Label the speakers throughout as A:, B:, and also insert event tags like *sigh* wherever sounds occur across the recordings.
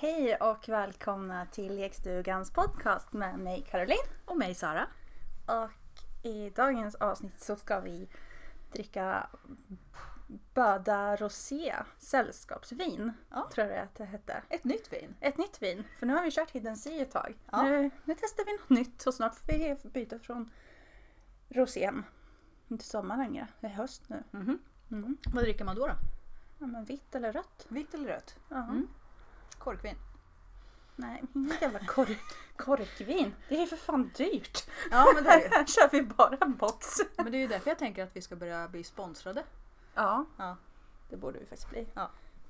A: er och välkomna till Lekstugans podcast med mig Caroline.
B: Och mig Sara.
A: Och i dagens avsnitt så ska vi dricka Böda Rosé sällskapsvin.
B: Ja.
A: Tror jag att det hette.
B: Ett nytt vin.
A: Ett nytt vin, för nu har vi kört Hidden Sea ett tag.
B: Ja.
A: Nu, nu testar vi något nytt och snart får vi byta från rosén. Inte sommar längre, det är höst nu.
B: Mhm.
A: Mm.
B: Vad dricker man då? då?
A: Ja, men vitt eller rött?
B: Vitt eller rött?
A: Ja.
B: Mm. Korkvin.
A: Nej, inget jävla kork, korkvin. Det är ju för fan dyrt.
B: Ja, men det är
A: *laughs*
B: det.
A: Här kör vi bara box.
B: Men det är ju därför jag tänker att vi ska börja bli sponsrade.
A: Ja,
B: Ja.
A: det borde vi faktiskt bli.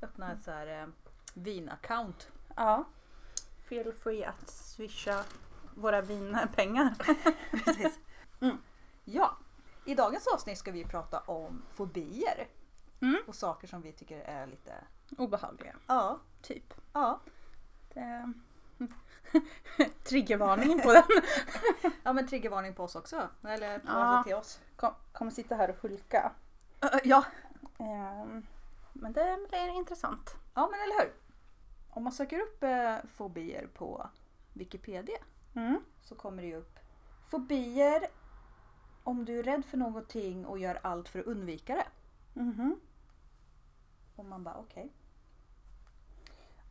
B: Öppna ett så här eh, *laughs* vinaccount.
A: Ja. Feel free att swisha våra vinpengar.
B: Mm. Ja. I dagens avsnitt ska vi prata om fobier.
A: Mm.
B: Och saker som vi tycker är lite...
A: Obehagliga,
B: Ja.
A: typ.
B: Ja.
A: Det... *laughs* Triggervarningen på den.
B: ja, men triggervarning på oss också. Eller på
A: Ja.
B: alltså till oss.
A: Kom, kommer sitta här och hulka.
B: Ja.
A: Ehm, men det, det är intressant.
B: Ja, men eller hur. Om man söker upp eh, fobier på Wikipedia
A: Mm.
B: så kommer det ju upp fobier om du är rädd för någonting och gör allt för att undvika det. Mm-hmm.
A: Mhm.
B: Och man bara okej.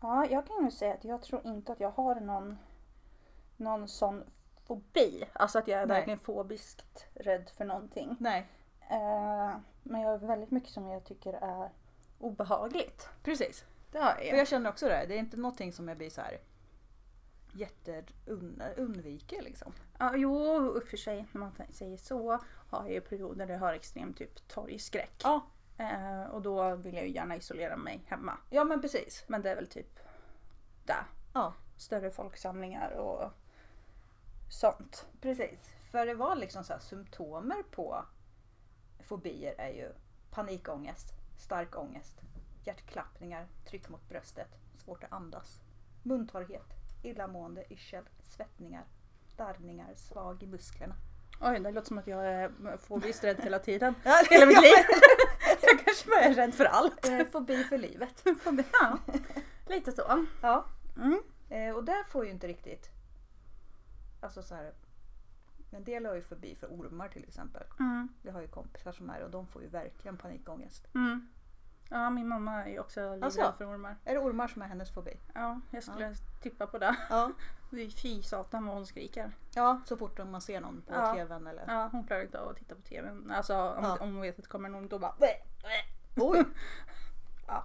A: Ja, jag kan ju säga att jag tror inte att jag har någon, någon sån fobi. Alltså att jag är
B: Nej.
A: verkligen fobiskt rädd för någonting.
B: Nej,
A: Eh, men jag har väldigt mycket som jag tycker är obehagligt.
B: precis.
A: Det har
B: För jag känner också det. Det är inte någonting som jag blir så här jätteun- undviker liksom.
A: Ja, jo, i och för sig när man t- säger så har jag ju perioder där jag har extrem typ torgskräck.
B: Ja.
A: Eh, och då vill jag ju gärna isolera mig hemma.
B: Ja men precis.
A: Men det är väl typ där.
B: Ja,
A: Större folksamlingar och sånt.
B: precis. För det var liksom så här symptomer på fobier är ju panikångest, stark ångest, hjärtklappningar, tryck mot bröstet, svårt att andas, muntorrhet, illamående, yrsel, svettningar, darrningar, svag i musklerna.
A: Oj, det låter som att jag är fobiskt rädd hela tiden.
B: Ja,
A: Hela mitt liv. *laughs* jag kanske bara är rädd för allt. *laughs*
B: Fobi Eh, för livet.
A: Fobi, ja. Lite så.
B: Ja.
A: Mm.
B: Eh, och där får ju inte riktigt... Alltså så här, en del har ju fobi för ormar till exempel.
A: Mm.
B: Vi har ju kompisar som är och de får ju verkligen panikångest.
A: Mm. Ja, min mamma är ju också livrädd
B: Alltså?
A: för ormar.
B: Är det ormar som är hennes fobi?
A: Ja, jag skulle tippa på det.
B: Ja.
A: Fy- Fy satan vad hon skriker.
B: ja, så fort man ser någon på
A: Ja.
B: tvn eller...
A: Ja, hon klarar inte av att titta på tvn. Alltså om,
B: Ja.
A: om hon vet att det kommer någon då bara *laughs*
B: Oj! Ja.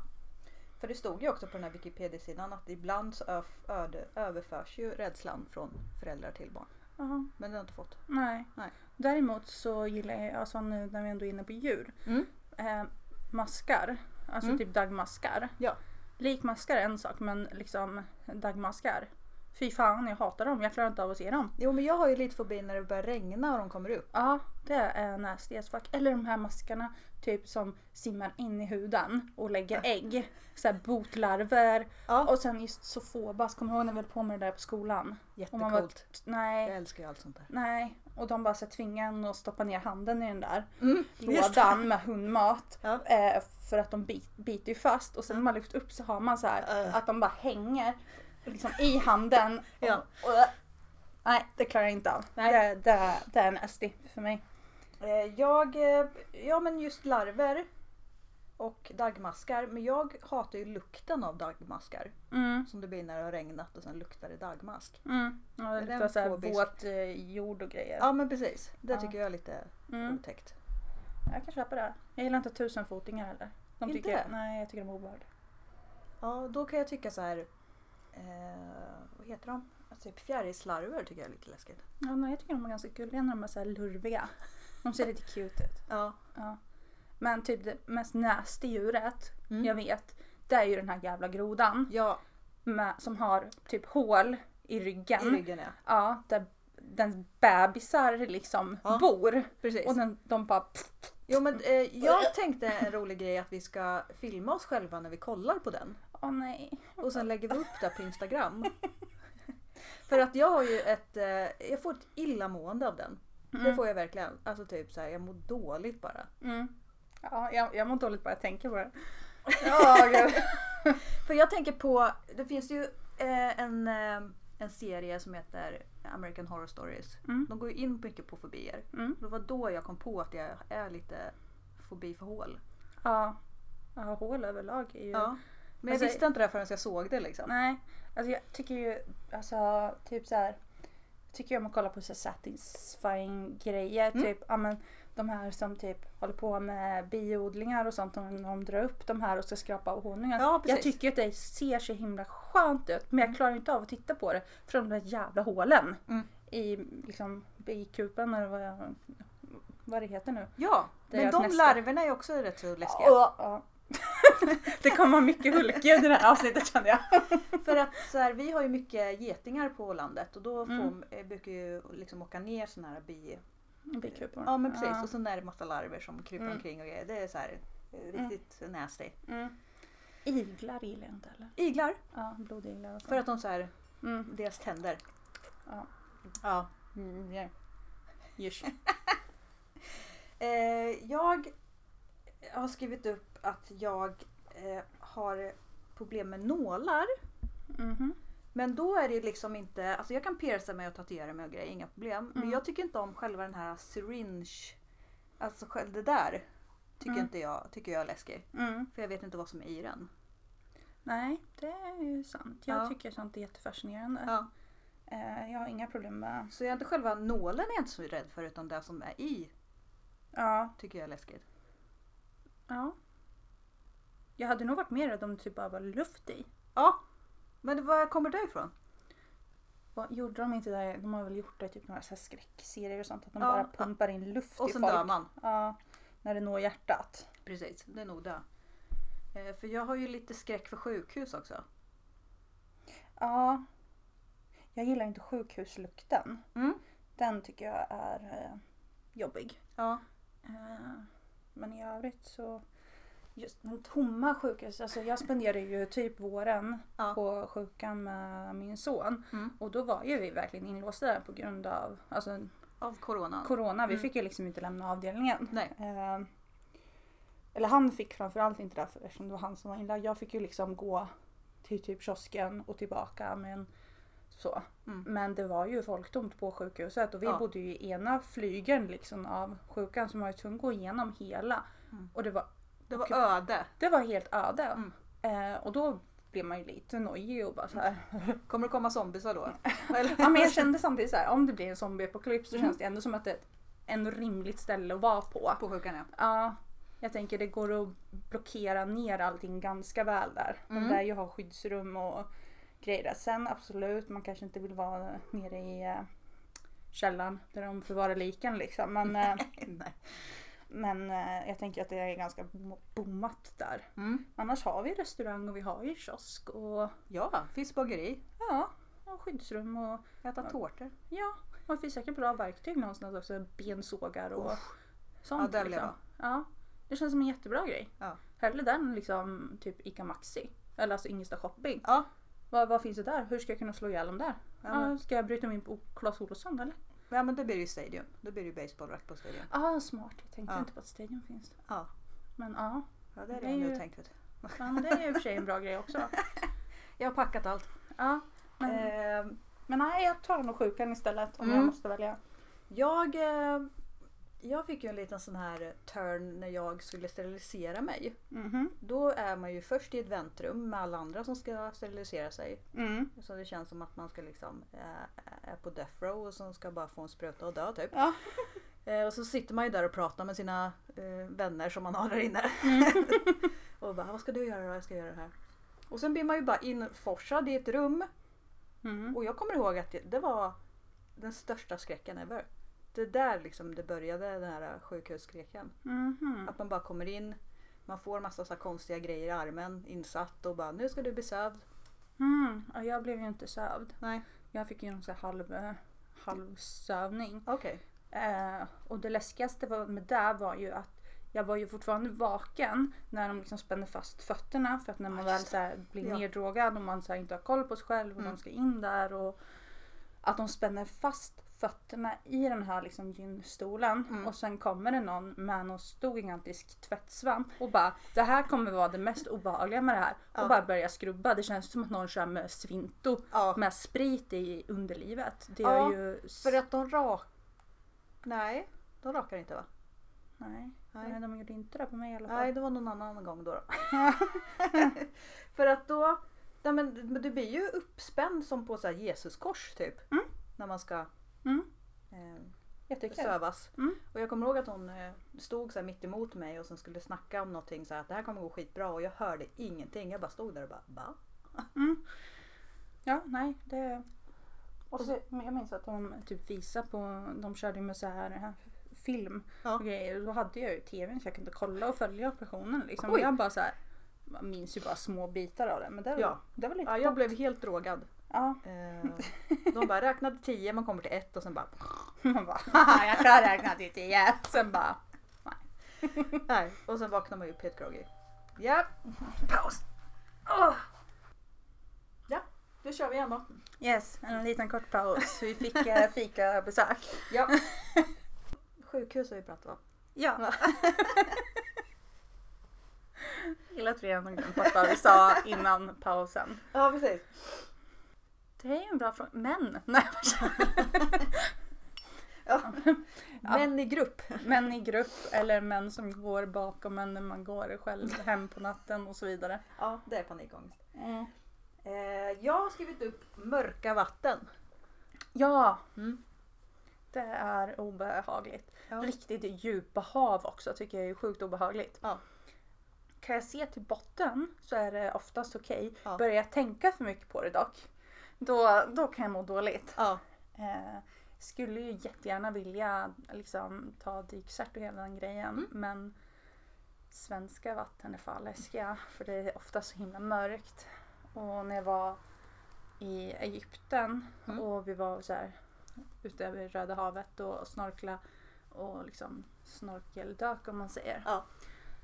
B: För det stod ju också på den här Wikipedia-sidan att ibland så öf- öde- överförs ju rädslan från föräldrar till barn.
A: ja,
B: Men det har jag inte fått.
A: nej.
B: Nej.
A: Däremot så gillar jag, alltså nu när vi ändå är inne på djur,
B: Mm.
A: eh, maskar. Alltså
B: Mm.
A: typ dagmaskar.
B: Ja.
A: Likmaskar är en sak men liksom dagmaskar. Fy fan jag hatar dem, jag klarar inte av att se dem.
B: Jo men jag har ju lite fobi när det börjar regna och de kommer upp.
A: Ja, det är nasty as fuck. Eller de här maskarna typ som simmar in i huden och lägger ägg. Såhär botlarver.
B: Ja.
A: Och sen just sofobas, kommer du ihåg när vi höll på med det där på skolan? Och man var,
B: Jättecoolt.
A: nej,
B: Jag älskar ju allt sånt där.
A: Nej, och de bara så tvingade en att stoppa ner handen i den där
B: Mm,
A: lådan med hundmat.
B: Ja.
A: Eh, för att de bit, biter ju fast och sen när man lyft upp så har man så här
B: Äh.
A: att de bara hänger liksom, i handen. Och,
B: Ja.
A: och, nej, det klarar jag inte av.
B: Nej.
A: Det, det, det är nasty för mig.
B: Eh, Jag, eh, ja men just larver och dagmaskar. Men jag hatar ju lukten av dagmaskar.
A: Mm,
B: Som det blir när det har regnat och sen luktar det dagmask.
A: mm. Ja, det
B: Är den
A: luktar så här
B: fobisk?
A: våt eh, jord och grejer.
B: Ja men precis. Det
A: Ja.
B: tycker jag är lite
A: Mm.
B: otäckt.
A: Jag kan köpa det. här. Jag gillar inte tusenfotingar heller. De
B: Inte?
A: tycker, nej, jag tycker de är obehagliga.
B: Ja då kan jag tycka så här. Eh, vad heter de? Alltså, typ fjärilslarver tycker jag är lite läskigt.
A: Ja, nej, jag tycker de är ganska gulliga när de är så här lurviga. De ser lite cute ut.
B: Ja.
A: Ja. Men typ det mest nasty djuret
B: Mm.
A: jag vet, det är ju den här jävla grodan.
B: Ja,
A: Med, som har typ hål i ryggen.
B: i ryggen ja.
A: Ja, där den bebisar liksom
B: Ja.
A: bor.
B: Precis.
A: Och den, de bara... Pff,
B: Jo men eh, jag tänkte en rolig grej att vi ska filma oss själva när vi kollar på den.
A: åh nej.
B: Och sen lägger vi upp det på Instagram. För att jag har ju ett, eh, jag får ett illamående av den. Det får jag verkligen. Alltså typ så här, jag mår dåligt bara.
A: Mm. Ja, jag, jag mår dåligt bara jag tänker på det. Ja, gud.
B: För jag tänker på, det finns ju eh, en, eh, en serie som heter American Horror Stories.
A: *laughs* Mm.
B: De går ju in mycket på fobier.
A: Mm.
B: Det var då jag kom på att jag är lite fobi för hål.
A: Ja. ja, hål överlag är ju...
B: Ja. Men jag
A: Alltså-
B: visste inte det här förrän jag såg det liksom.
A: Nej, alltså jag tycker ju alltså typ så här. jag Tycker ju om att kolla på så här satisfying grejer.
B: Mm.
A: Typ ja, men, de här som typ håller på med biodlingar och sånt. Om de drar upp de här och ska skrapa av honungen.
B: Ja, precis.
A: jag tycker att det ser så himla skönt ut. Men jag klarar inte av att titta på det. För de där jävla hålen.
B: Mm.
A: I liksom bikupan eller vad, jag, vad det heter nu.
B: Ja,
A: Det
B: men
A: är
B: de
A: nästa.
B: larverna är också rätt så läskiga.
A: Ja. *laughs* det kommer vara mycket hulkljud i det här avsnittet kände jag.
B: För att så här, vi har ju mycket getingar på landet och då får,
A: Mm.
B: eh, brukar ju liksom åka ner sådana här bi...
A: Bikupan.
B: Ja men precis och sen är det massa larver som kryper
A: Mm.
B: omkring och grejer. Det är så här eh, riktigt nasty.
A: Mm. Iglar gillar jag inte heller.
B: Iglar,
A: Ja, blodiglar och
B: för att de så här,
A: Mm.
B: deras tänder.
A: Ja.
B: Ja.
A: Mm.
B: Eh, jag har skrivit upp att jag eh, har problem med nålar.
A: Mhm.
B: Men då är det liksom inte, alltså jag kan pierca mig och tatuera mig och grejer, inga problem. Men
A: Mm.
B: jag tycker inte om själva den här syringe, alltså själv- det där tycker
A: Mm.
B: inte jag, tycker jag är läskig.
A: Mm.
B: För jag vet inte vad som är i den.
A: Nej, det är ju sant. Jag
B: Ja.
A: tycker sånt är jättefascinerande.
B: Ja.
A: Eh, jag har inga problem med...
B: Så jag är inte själva nålen är jag inte så rädd för utan det som är i
A: Ja,
B: tycker jag är läskigt.
A: ja. Jag hade nog varit mer rädd om det typ bara var luft i.
B: Ja, men var kommer det ifrån?
A: Vad gjorde de inte det? De har väl gjort det i typ några så här skräckserier och sånt. Att de
B: Ja.
A: bara pumpar in luft
B: Och
A: i
B: sen
A: folk.
B: dör man.
A: Ja, när det når hjärtat.
B: Precis, det är nog det. Eh, För jag har ju lite skräck för sjukhus också.
A: Ja. Jag gillar inte sjukhuslukten.
B: Mm.
A: Den tycker jag är eh, jobbig.
B: Ja.
A: Eh, Men i övrigt så... Just den tomma sjukhus. Alltså jag spenderade ju typ våren
B: Ja.
A: på sjukan med min son.
B: Mm.
A: Och då var ju vi verkligen inlåsta där på grund av alltså,
B: Av corona.
A: corona. Vi
B: Mm.
A: fick ju liksom inte lämna avdelningen.
B: Nej.
A: Eh, eller han fick framförallt inte det för- eftersom det var han som var inlagd. Jag fick ju liksom gå till typ kiosken och tillbaka. Men, så.
B: Mm.
A: men det var ju folktomt på sjukhuset och vi
B: Ja.
A: bodde ju i ena flygeln liksom av sjukan så man var ju tvungen att gå igenom hela.
B: Mm.
A: Och det var,
B: Det var öde.
A: det var helt öde.
B: Mm.
A: Eh, och då blev man ju lite nojig och bara så här.
B: Kommer det komma
A: *laughs*
B: zombiesar då? Eller?
A: Ja, men jag kände samtidigt så här, om det blir en zombieapokalyps så
B: Mm.
A: känns det ändå som att det är ett ändå rimligt ställe att vara på.
B: På sjukan ja.
A: Ja, jag tänker det går att blockera ner allting ganska väl där.
B: Mm.
A: De där ju har skyddsrum och grejer där. Sen absolut, man kanske inte vill vara nere i eh, källaren där de förvarar liken liksom. Men, eh,
B: Nej.
A: men eh, jag tänker att det är ganska bom- bommat där.
B: Mm.
A: Annars har vi restaurang och vi har ju kiosk och
B: Ja, finns bageri.
A: ja, och skyddsrum och
B: Äta
A: Ja.
B: tårtor.
A: ja, man finns säkert bra verktyg någonstans också. Bensågar och sånt.
B: Ja, där vill jag
A: liksom. ja, det känns som en jättebra grej.
B: Ja.
A: Hellre den än liksom typ Ica Maxi. Eller alltså Ingelstad shopping.
B: Ja.
A: Vad, vad finns det där? Hur ska jag kunna slå ihjäl dem där?
B: Ja, men-
A: Ja, ska jag bryta mig in på Clas Ohlson eller?
B: ja, men då blir det ju stadion. Då blir det ju baseballrack på stadion.
A: Ja, ah, smart. Jag tänkte
B: Ja.
A: inte på att Stadion finns.
B: Ja.
A: Men ja,
B: Ja, det är
A: Det
B: det
A: är
B: jag nu
A: ju-
B: tänkt. Vet. du.
A: ja, men det är ju i och för sig en bra grej
B: *laughs*
A: också.
B: Jag har packat allt.
A: Ja, men,
B: Ehm,
A: men nej, jag tar nog sjukan istället om jag
B: Mm.
A: måste välja.
B: jag, eh, jag fick ju en liten sån här turn när jag skulle sterilisera mig.
A: Mhm.
B: Då är man ju först i ett väntrum med alla andra som ska sterilisera sig.
A: Mm.
B: Så det känns som att man ska liksom eh, är på death row och som ska bara få en spruta och dö typ.
A: Ja.
B: *laughs* Eh, och så sitter man ju där och pratar med sina eh, vänner som man har där inne. *laughs* och bara, vad ska du göra då? Jag ska göra det här. Och sen blir man ju bara inforsad i ett rum.
A: Mm.
B: Och jag kommer ihåg att det, det var den största skräcken ever. Det där liksom det började, den här sjukhusskräcken.
A: Mhm.
B: Att man bara kommer in, man får massa så här konstiga grejer i armen insatt och bara, nu ska du bli sövd.
A: Mm. Ja, jag blev ju inte sövd.
B: Nej,
A: Jag fick ju en sån här halv, eh, halvsövning.
B: okej.
A: Eh, och det läskigaste var- med det var ju att jag var ju fortfarande vaken när de liksom spände fast fötterna för att när man
B: Ja,
A: väl
B: just
A: så här blir
B: Ja.
A: neddrogad och man så här inte har koll på sig själv och
B: Mm.
A: de ska in där och att de spänner fast fötterna i den här liksom gynstolen
B: Mm.
A: och sen kommer det någon med någon stor gigantisk tvättsvamp och bara det här kommer vara det mest obehagliga med det här
B: Ja.
A: och bara börjar skrubba. Det känns som att någon kör med svinto
B: Ja.
A: med sprit i underlivet. Det
B: Ja,
A: är ju... s-
B: För att de rak... Nej, de rakar inte va?
A: Nej.
B: Nej.
A: Nej, de gjorde inte det på mig i alla fall.
B: Nej, det var någon annan gång då. *laughs* då. För att då... Nej, men du- men du blir ju uppspänd som på så här Jesuskors typ.
A: Mm.
B: När man ska
A: Mm.
B: eh,
A: Jättekul.
B: sövas.
A: Mm.
B: Och jag kommer ihåg att hon eh, stod så här mitt emot mig och sen skulle snacka om någonting så här att det här kommer gå skitbra och jag hörde ingenting. Jag bara stod där och bara va?
A: Ja, nej. Det... Och så, men jag minns att de typ visade på, de körde ju med så här eh, film
B: Ja.
A: och grejer. Och Då hade jag ju tvn så jag kunde kolla och följa operationen. Liksom.
B: Oj.
A: Och Jag bara så här, man minns ju bara små bitar av det. Men det, var-
B: Ja.
A: det var lite
B: Ja,
A: coolt.
B: jag blev helt drogad.
A: Ja, *laughs*
B: Eh, De bara räknade tio, man kommer till ett och sen bara
A: man bara haha jag kan räkna till tio. Sen bara
B: Nej. Och sen vaknar man ju upp helt groggy. Ja. Paus. Åh. Ja, då kör vi igen då.
A: yes, en liten kort paus. Vi fick eh, fika besök.
B: Ja. *laughs* Sjukhus har vi pratat om.
A: Ja. *laughs* Gillar att vi ändå glömt bort vad vi sa innan pausen.
B: Ja, precis.
A: Det är ju en bra fråga. Men! *laughs* Nej,
B: Ja. Män i grupp.
A: män i grupp eller män som går bakom en när man går själv hem på natten och så vidare.
B: Ja, det är panikångest.
A: Mm.
B: Eh, jag har skrivit upp mörka vatten.
A: Ja!
B: Mm.
A: Det är obehagligt.
B: Ja.
A: Riktigt djupa hav också tycker jag är sjukt obehagligt.
B: Ja.
A: Kan jag se till botten så är det oftast okej.
B: Ja.
A: Börjar jag tänka för mycket på det dock, då, då kan jag må dåligt.
B: Ja.
A: Eh, skulle ju jättegärna vilja liksom, ta dykcert och hela den grejen men svenska vatten är fan läskiga för det är ofta så himla mörkt. Och när jag var i Egypten
B: Mm.
A: och vi var så här ute över Röda havet och snorkla och liksom snorkeldök om man säger.
B: Ja.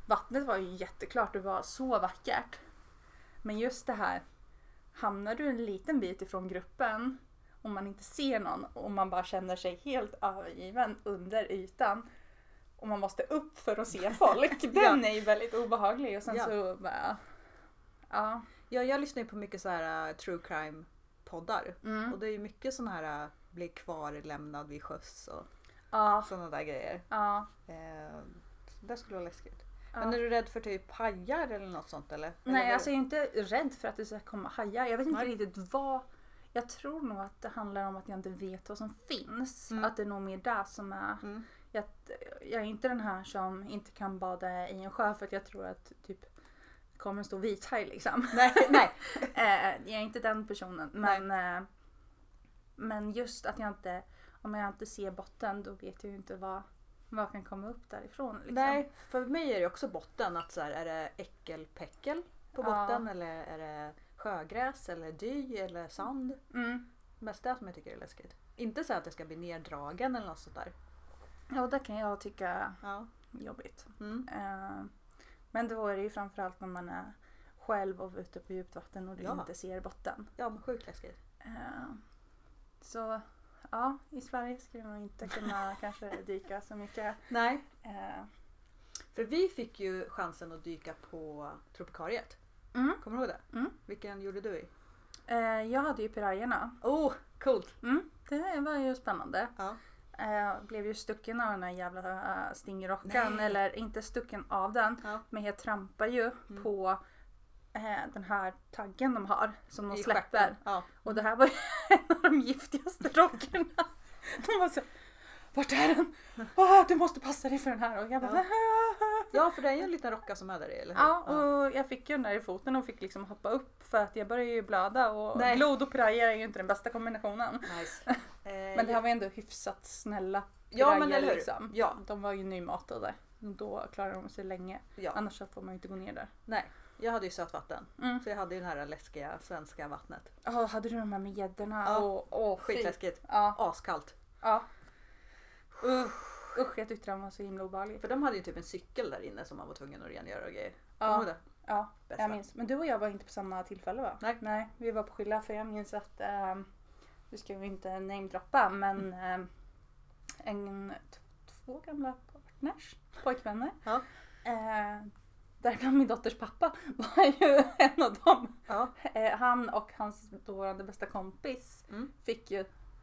A: Vattnet var ju jätteklart och var så vackert. Men just det här, hamnar du en liten bit ifrån gruppen och man inte ser någon och man bara känner sig helt övergiven under ytan och man måste upp för att se
B: *laughs*
A: folk. Den är ju väldigt obehaglig och sen
B: Ja.
A: så bara... Ja.
B: Jag, jag lyssnar ju på mycket så här eh, true crime poddar.
A: mm.
B: Och det är ju mycket sån här eh, bli kvar lämnad vid sjöss och
A: Ja.
B: sådana där grejer.
A: Ja.
B: Eh, det skulle vara läskigt.
A: Ja.
B: Men är du rädd för typ hajar eller något sånt eller?
A: Nej,
B: eller
A: alltså jag är inte rädd för att det ska komma hajar. Jag vet inte
B: Nej.
A: riktigt vad... Jag tror nog att det handlar om att jag inte vet vad som finns.
B: Mm.
A: Att det är nog mer det som är...
B: Mm.
A: Jag, jag är inte den här som inte kan bada i en sjö för att jag tror att typ det kommer en stor vithaj liksom.
B: *laughs* Nej, nej.
A: *laughs* Eh, jag är inte den personen. Men, eh, men just att jag inte, om jag inte ser botten då vet jag ju inte vad, vad kan komma upp därifrån. Liksom.
B: nej, för mig är det också botten. Att så här, är det äckelpäckel
A: Ja.
B: på botten eller är det sjögräs eller dy eller sand?
A: Mm.
B: Mest det som jag tycker är läskigt. Inte så att jag ska bli nerdragen eller något sånt där.
A: Ja, och det kan jag tycka är
B: Ja.
A: jobbigt.
B: Mm.
A: Eh, men då är det ju framförallt när man är själv och ute på djupt vatten och du
B: Ja.
A: inte ser botten.
B: ja, men sjukt läskigt.
A: Eh, så ja, i Sverige skulle man inte
B: *laughs*
A: kunna kanske dyka så mycket.
B: Nej,
A: Eh,
B: för vi fick ju chansen att dyka på Tropikariet.
A: Mm.
B: Kommer du ihåg det?
A: Mm.
B: Vilken gjorde du i?
A: eh, jag hade ju pirajerna.
B: Oh, coolt!
A: Mm, det var ju spännande.
B: Ja.
A: Eh, blev ju stucken av den här jävla eh, stingrockan.
B: Nej.
A: Eller inte stucken av den.
B: Ja.
A: Men jag trampar ju
B: Mm.
A: på eh, den här taggen de har. Som de
B: I
A: släpper.
B: stjärten. Ja.
A: Och det här var ju *laughs* en av de giftigaste rockarna. De var så Vart är den? Ah, du måste passa dig för den här. Och jag bara,
B: Ja.
A: "Ah, ah, ah."
B: ja, för det är ju en liten rocka som är där i, eller hur?
A: Ja, och jag fick ju den där i foten och fick liksom hoppa upp för att jag började ju blöda och
B: Nej.
A: blod och pirajer är ju inte den bästa kombinationen. *laughs*
B: Nice. Eh,
A: Men det här var ju ändå hyfsat snälla
B: Ja, men
A: pirajer,
B: eller hur?
A: liksom.
B: Ja.
A: De var ju nymatade. Då klarar de sig länge.
B: ja.
A: Annars så får man ju inte gå ner där.
B: Nej, jag hade ju sötvatten.
A: Mm.
B: Så jag hade ju det här läskiga svenska vattnet.
A: Ja, hade du de här med gäddorna?
B: Ja.
A: Och, och
B: Skitläskigt.
A: Ja.
B: Askallt.
A: ja. Usch, usch, jag tyckte den var så himla obehaglig.
B: För de hade ju typ en cykel där inne som man var tvungen att rengöra och grejer.
A: Ja.
B: Kommer du ihåg det?
A: Ja,
B: Bästa.
A: jag minns. Men du och jag var inte på samma tillfälle va?
B: Nej.
A: Nej vi var på Skilla för jag minns att ehm, nu ska vi inte namedroppa men
B: Mm.
A: eh, en, t- två gamla partners, pojkvänner.
B: Ja.
A: Eh, däribland min dotters pappa *laughs* var ju en av dem.
B: Ja.
A: Eh, han och hans dåvarande bästa kompis
B: Mm.
A: fick ju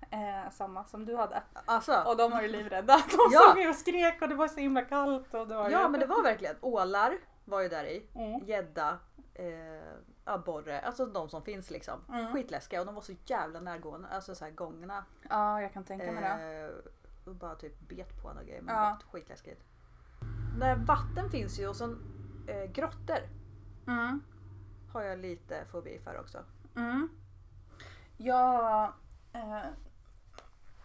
A: eh, samma som du hade.
B: Alltså,
A: Och de
B: *laughs*
A: var ju livrädda. De
B: Ja.
A: såg ju och skrek och det var så himla kallt. Och det var
B: ja
A: ju...
B: men det var verkligen ålar var ju där i.
A: Mm.
B: Gädda, eh, abborre, alltså de som finns liksom.
A: Mm.
B: Skitläskiga och de var så jävla närgående, alltså så här gångna.
A: Ja, jag kan tänka mig det.
B: Eh, och bara typ bet på en och grejer. Men
A: Ja.
B: det var skitläskigt. Nej, vatten finns ju och sen eh, grottor Eh.
A: Mm.
B: har jag lite fobi för också.
A: Mm. Jag, eh,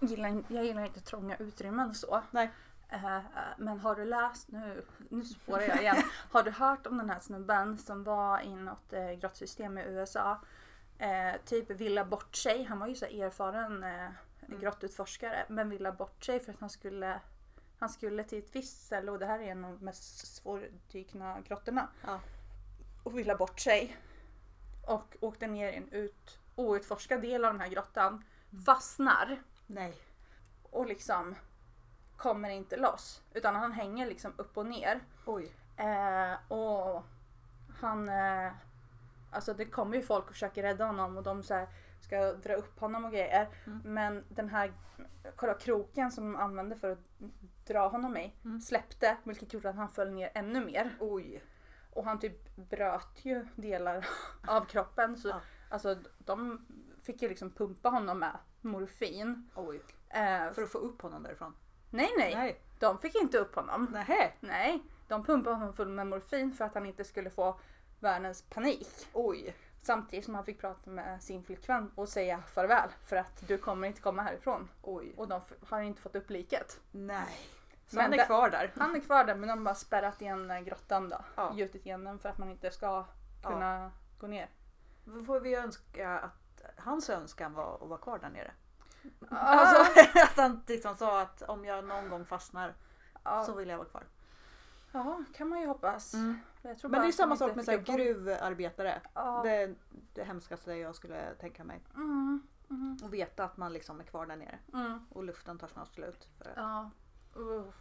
A: gillar, in- jag gillar inte trånga utrymmen så.
B: Nej.
A: Eh, men har du läst, nu, nu spårar jag
B: *laughs*
A: igen. har du hört om den här snubben som var i något eh, grottsystem i USA? Eh, typ ville bort sig. Han var ju så här erfaren eh,
B: Mm.
A: grottutforskare men ville bort sig för att han skulle han skulle till ett visst ställe och det här är en av de mest svårdykna grottorna
B: Ja.
A: och ville bort sig. Och åkte ner i en ut, outforskad del av den här grottan. Fastnar
B: Nej.
A: och liksom kommer inte loss. Utan han hänger liksom upp och ner.
B: Oj.
A: Eh, och han... Eh, alltså det kommer ju folk och försöker rädda honom och de så här ska dra upp honom och grejer.
B: Mm.
A: Men den här kolla, kroken som de använde för att dra honom i
B: Mm.
A: släppte vilket gjorde att han föll ner ännu mer.
B: Oj.
A: Och han typ bröt ju delar *laughs* av kroppen. Så,
B: Ja.
A: Alltså de fick ju liksom pumpa honom med morfin.
B: Oj.
A: Eh,
B: För att få upp honom därifrån?
A: nej, nej
B: Nej.
A: de fick inte upp honom.
B: Nej.
A: Nej, de pumpade honom full med morfin för att han inte skulle få världens panik.
B: Oj.
A: Samtidigt som han fick prata med sin flickvän och säga farväl för att du kommer inte komma härifrån.
B: Oj.
A: Och de f- har inte fått upp liket.
B: Nej. Så
A: Men
B: han är
A: det-
B: kvar där?
A: Han är kvar där men de har bara spärrat igen eh, grottan då.
B: Ja.
A: Gjutit igen den för att man inte ska
B: Ja.
A: kunna gå ner.
B: *laughs* Då får vi önska att hans önskan var att vara kvar där nere.
A: Ah.
B: Alltså *laughs* att han liksom sa att om jag någon gång fastnar
A: Ja.
B: så vill jag vara kvar.
A: Ja, kan man ju hoppas. Jag tror
B: Mm. Men
A: bara
B: det är
A: att
B: samma
A: de
B: sak
A: inte
B: med så
A: fick
B: här
A: upp dem.
B: gruvarbetare.
A: Ja.
B: Det är det hemskaste jag skulle tänka mig.
A: Mm, mm,
B: Att veta att man liksom är kvar där nere
A: mm.
B: och luften tar snart slut. För att...
A: Ja. Uff.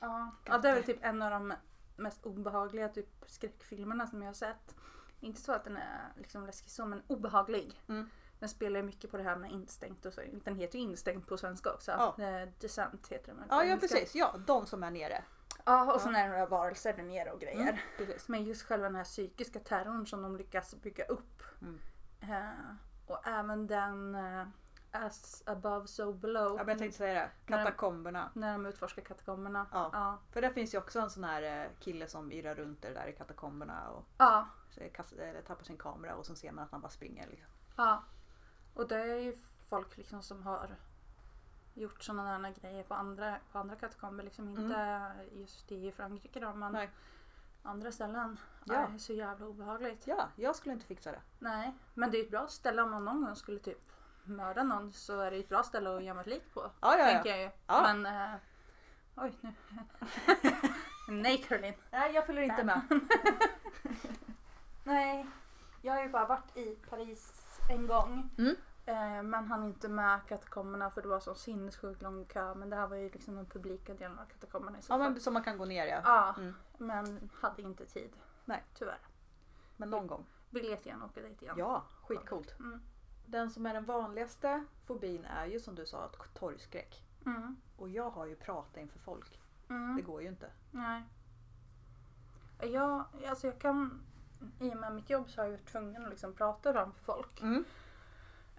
A: Ja. ja, det är väl typ en av de mest obehagliga typ skräckfilmerna som jag har sett. Inte så att den är liksom läskig så, men obehaglig.
B: Mm.
A: Den spelar ju mycket på det här med instängt och så. Den heter ju instängt på svenska också.
B: Ja.
A: Eh, Descent heter den väl på
B: ja, ja
A: engelska.
B: precis. Ja, de som är nere.
A: Ja, och sen är det några varelser där nere och grejer.
B: Mm, precis.
A: Men just själva den här psykiska terrorn som de lyckas bygga upp.
B: Mm.
A: Eh, och även den eh, As above so below.
B: Ja, men jag tänkte säga det.
A: Men-
B: Katakomberna.
A: När de utforskar katakomberna.
B: Ja.
A: Ja.
B: För det finns ju också en sån här eh, kille som irrar runt det där i katakomberna och
A: ja.
B: så kastar, eller tappar sin kamera och så ser man att han bara springer. Liksom.
A: ja. Och det är ju folk liksom som har gjort sådana där grejer på andra, på andra katakomber. Liksom inte just i Frankrike då men
B: Mm. Nej.
A: andra ställen.
B: Ja.
A: Ja. Det är så jävla obehagligt.
B: Ja, jag skulle inte fixa det.
A: Nej. Men det är ju ett bra ställe om man någon gång skulle typ mörda någon så är det ju ett bra ställe att gömma ett lik på.
B: Ja, ja,
A: tänker jag ju.
B: Ja.
A: Men... eh, oj, nu... *laughs* Nej, Caroline.
B: Nej, jag följer
A: *laughs*
B: inte med.
A: Nej, jag har ju bara varit i Paris en gång.
B: Mm.
A: Eh, men han inte med katakomberna för det var så sinnessjukt lång kö. Men det här var ju liksom den publika delen av katakomberna i så
B: Ja,
A: fall.
B: men som man kan gå ner ja.
A: ja,
B: Mm.
A: men hade inte tid.
B: Nej.
A: Tyvärr.
B: Men någon gång.
A: Vill jättegärna åka dit igen.
B: Ja, skitcoolt.
A: Mm.
B: Den som är den vanligaste fobin är ju som du sa att torgskräck.
A: Mm.
B: Och jag har ju pratat inför folk.
A: Mm.
B: Det går ju inte.
A: Nej. Jag, alltså jag kan... I och med mitt jobb så har jag varit tvungen att liksom prata framför folk.
B: Mm.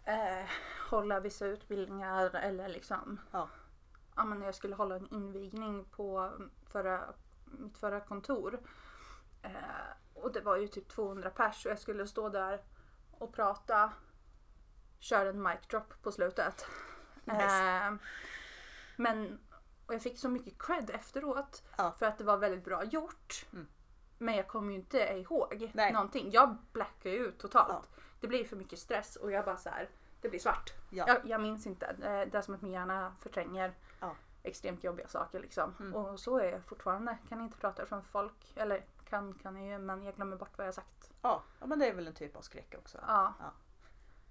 A: eh, hålla vissa utbildningar eller liksom.
B: Ja.
A: Ja, men jag skulle hålla en invigning på förra, mitt förra kontor. Eh, och det var ju typ 200 pers och jag skulle stå där och prata. Köra en mic drop på slutet.
B: Nice.
A: Eh, men och jag fick så mycket cred efteråt
B: Ja.
A: för att det var väldigt bra gjort.
B: Mm.
A: Men jag kommer ju inte ihåg
B: Nej.
A: någonting. Jag blackar ju ut totalt.
B: Ja.
A: Det blir för mycket stress och jag bara så här, det blir svart.
B: Ja.
A: Jag, jag minns inte. Eh, Det är som att min hjärna förtränger
B: Ja.
A: extremt jobbiga saker liksom.
B: Mm.
A: Och så är jag fortfarande. Kan inte prata framför folk. Eller kan kan jag ju men jag glömmer bort vad jag har sagt.
B: Ja. ja, men det är väl en typ av skräck också.
A: Ja.
B: Ja.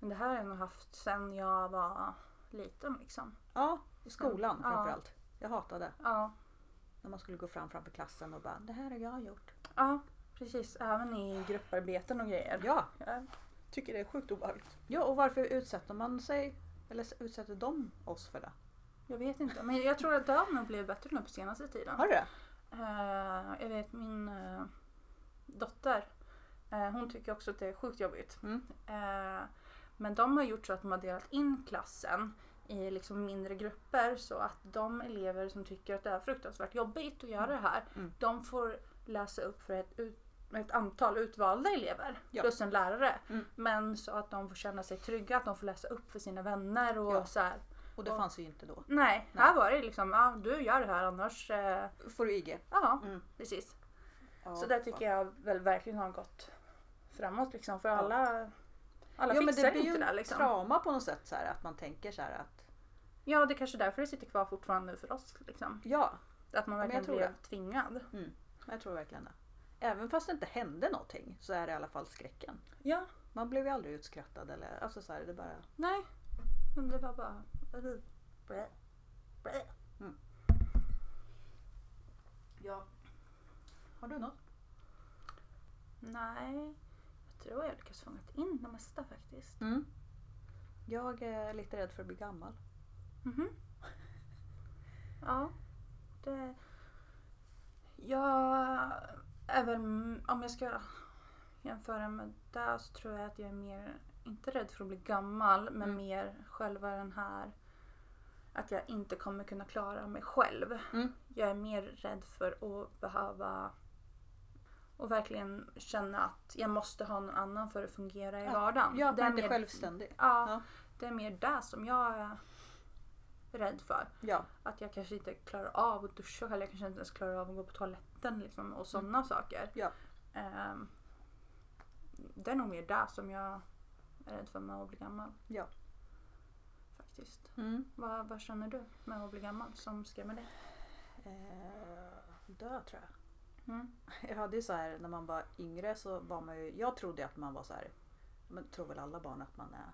A: Men det här har jag nog haft sedan jag var liten liksom.
B: Ja, i skolan
A: Ja.
B: framförallt. Jag hatade
A: Ja,
B: när man skulle gå fram framför klassen och bara det här har jag gjort.
A: ja precis. Även i grupparbeten och grejer.
B: Ja,
A: Jag tycker det är sjukt obehagligt.
B: ja och varför utsätter man sig eller utsätter de oss för det?
A: Jag vet inte, men jag tror att det har nog blivit bättre nu på senaste tiden.
B: Har du det?
A: Eh, jag vet min eh, dotter, eh, hon tycker också att det är sjukt jobbigt.
B: Mm.
A: Eh, men de har gjort så att de har delat in klassen i liksom mindre grupper så att de elever som tycker att det är fruktansvärt jobbigt att göra det här,
B: Mm.
A: de får läsa upp för ett, ut, ett antal utvalda elever
B: Ja.
A: plus en lärare.
B: Mm.
A: Men så att de får känna sig trygga, att de får läsa upp för sina vänner och
B: Ja.
A: så här.
B: Och det
A: Ja.
B: fanns ju inte då.
A: Nej,
B: Nej.
A: här var det liksom, ja, du gör det här annars, eh,
B: Får du IG?
A: ja
B: Mm.
A: precis.
B: Ja,
A: Så där tycker jag väl verkligen har gått framåt liksom för
B: Ja.
A: alla, alla
B: ja, men
A: fixar
B: det blir ju
A: inte det
B: en
A: liksom.
B: trauma på något sätt så här, att man tänker så här att
A: Ja, det är kanske är därför det sitter kvar fortfarande nu för oss liksom.
B: ja,
A: Att man
B: men jag
A: verkligen
B: tror
A: blir tvingad.
B: jag tror verkligen det. Även fast det inte hände någonting så är det i alla fall skräcken.
A: Ja,
B: Man blev ju aldrig utskrattad eller alltså så här, det bara
A: nej. Men det var bara... Blä, blä.
B: Mm. Ja. Har du något?
A: Nej, jag tror jag lyckas fånga in det mesta faktiskt.
B: Mm. Jag är lite rädd för att bli gammal.
A: Mhm. Ja, det... Jag är väl, om jag ska jämföra med det så tror jag att jag är mer, inte rädd för att bli gammal, men
B: Mm.
A: mer själva den här att jag inte kommer kunna klara mig själv.
B: Mm.
A: Jag är mer rädd för att behöva och verkligen känna att jag måste ha någon annan för att fungera i
B: Ja.
A: vardagen.
B: Jag
A: Det
B: är
A: är
B: inte
A: mer-
B: självständig.
A: Ja,
B: Ja.
A: det är mer det som jag är rädd för.
B: Ja.
A: Att jag kanske inte klarar av att duscha själv. Jag kanske inte ens klarar av att gå på toaletten liksom, och sådana saker.
B: Mm. Ja.
A: Ehm, det är nog mer det som jag är rädd för med att bli gammal.
B: Ja.
A: Faktiskt.
B: Mm.
A: Vad, vad känner du med att bli gammal som skrämmer dig?
B: Eh, dö tror jag.
A: Mm.
B: Jag hade ju så här när man var yngre så var man ju, jag trodde ju att man var så här, men tror väl alla barn att man är,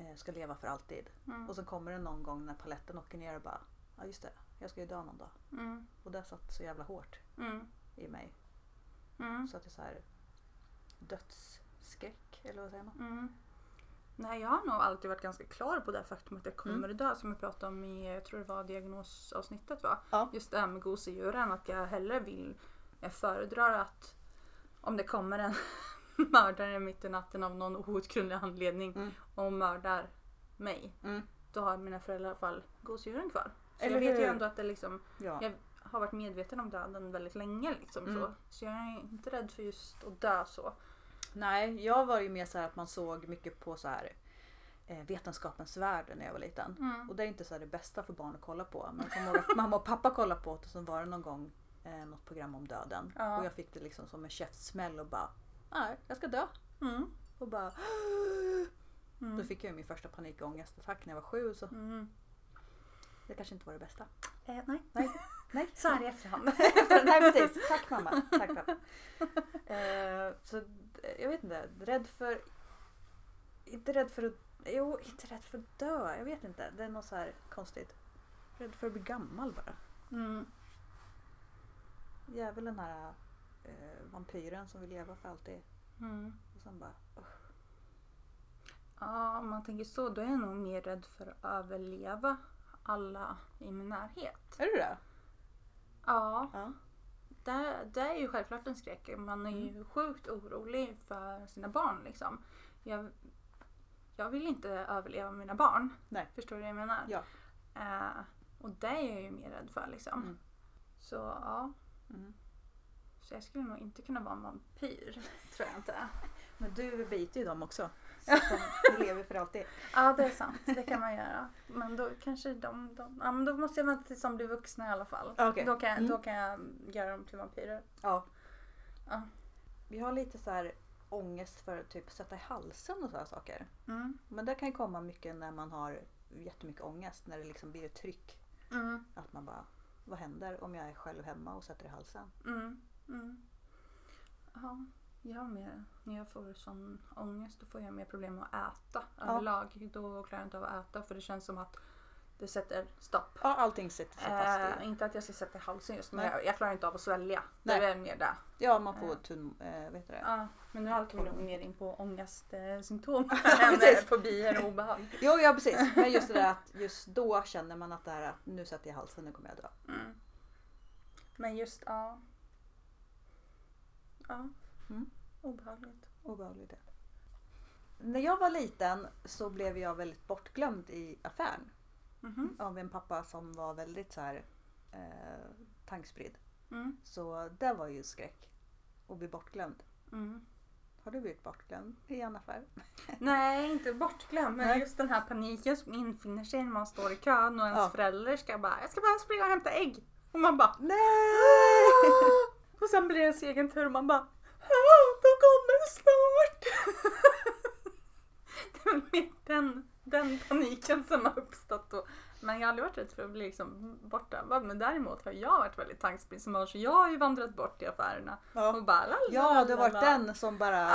B: eh, ska leva för alltid.
A: Mm.
B: Och så kommer det någon gång när paletten åker ner och bara, ja just det, jag ska ju dö någon dag.
A: Mm.
B: Och det satt så jävla hårt
A: Mm.
B: i mig.
A: Mm.
B: Så att det är så här dödsskräck, eller vad säger man?
A: Mm. Nej, jag har nog alltid varit ganska klar på det faktum att jag
B: Mm.
A: kommer dö som jag pratade om i, jag tror det var diagnosavsnittet va?
B: Ja.
A: Just det här med gosedjuren, att jag hellre vill, jag föredrar att om det kommer en *laughs* mördare mitt i natten av någon outgrundlig anledning
B: Mm.
A: och mördar mig,
B: Mm.
A: då har mina föräldrar i alla fall gosedjuren kvar. Så jag
B: Eller
A: vet ju
B: hur?
A: ändå att det liksom,
B: Ja.
A: jag har varit medveten om döden väldigt länge liksom
B: Mm.
A: så. Så jag är inte rädd för just att dö så.
B: Nej, jag var ju mer så här att man såg mycket på så här eh, vetenskapens värld när jag var liten.
A: Mm.
B: Och det är inte så här det bästa för barn att kolla på. Men jag kommer ihåg att mamma och pappa kollade på det och så var det någon gång eh, något program om döden.
A: Ja.
B: Och jag fick det liksom som en käftsmäll och bara Nej, jag ska dö.
A: Mm.
B: Och bara *gasps*
A: Mm.
B: Då fick jag ju min första panikångestattack när jag var sju så
A: Mm.
B: det kanske inte var det bästa.
A: Eh, nej.
B: Nej,
A: Så här i efterhand.
B: *laughs* Nej precis. Tack mamma. Tack *laughs* pappa. Eh, så d- jag vet inte. Rädd för... Inte rädd för att... Jo, inte rädd för att dö. Jag vet inte. Det är något så här konstigt. Rädd för att bli gammal bara.
A: Mm.
B: Jag är väl den här eh, vampyren som vill leva för alltid.
A: Mm.
B: Och sen bara... usch.
A: Ja, om man tänker så, då är jag nog mer rädd för att överleva alla i min närhet.
B: Är du det?
A: Ja,
B: Ja.
A: det, det är ju självklart en skräck. Man är
B: Mm.
A: ju sjukt orolig för sina barn liksom. Jag, jag vill inte överleva mina barn.
B: Nej.
A: Förstår du vad jag menar?
B: Ja.
A: Eh, och det är jag ju mer rädd för liksom.
B: Mm.
A: Så ja,
B: Mm.
A: så jag skulle nog inte kunna vara en vampyr. *laughs* Tror jag inte.
B: Men du biter ju dem *laughs* också. Så att de lever för alltid.
A: Ja, det är sant. Det kan man göra. Men då kanske de... de ja, men då måste jag vänta tills de blir vuxna i alla fall.
B: Okej.
A: Då, kan,
B: Mm.
A: då kan jag göra dem till vampyrer.
B: Ja.
A: Ja.
B: Vi har lite så här ångest för att typ sätta i halsen och sådana saker.
A: Mm.
B: Men det kan ju komma mycket när man har jättemycket ångest. När det liksom blir ett tryck.
A: Mm.
B: Att man bara, vad händer om jag är själv hemma och sätter i halsen?
A: Mm. Mm. Ja. Jag mer. När jag får sån ångest då får jag mer problem med att äta överlag. Då klarar jag inte av att äta för det känns som att det sätter stopp.
B: Ja, allting sitter sig fast i.
A: Eh, inte att jag ska sätta i halsen just men
B: Nej.
A: jag, jag klarar inte av att svälja. Det
B: Nej.
A: är mer det.
B: Ja, man får tunn... Eh, vet du det?
A: Ja, men nu halkar vi nog mer in på
B: *laughs*
A: ångestsymptom
B: precis.
A: än fobier och obehag.
B: Jo, ja precis. Men just det där att just då känner man att det här att nu sätter jag halsen, nu kommer jag dö.
A: Mm. Men just, ja. Ja.
B: Mm.
A: Obehagligt.
B: Obehaglig det. När jag var liten så blev jag väldigt bortglömd i affären
A: Mhm.
B: av en pappa som var väldigt så här eh, tankspridd.
A: Mm.
B: Så det var ju skräck att bli bortglömd.
A: Mm.
B: Har du blivit bortglömd i en affär?
A: Nej, inte bortglömd. Men
B: Nej.
A: just den här paniken som infinner sig när man står i kön och ens
B: Ja.
A: föräldrar ska bara “Jag ska bara springa och hämta ägg” och man bara
B: Nej!
A: Och sen blir det ens egen tur och man bara "Ah, “De kommer snart!” *laughs* Det är mer den, den paniken som har uppstått då. Men jag har aldrig varit rädd för att bli liksom bortdrabbad. Men däremot har jag varit väldigt tankspridd som barn så jag har ju vandrat bort i affärerna och
B: *laughs* Ja,
A: bara la, la, la,
B: ja det
A: la,
B: var
A: la. *laughs*
B: den som bara...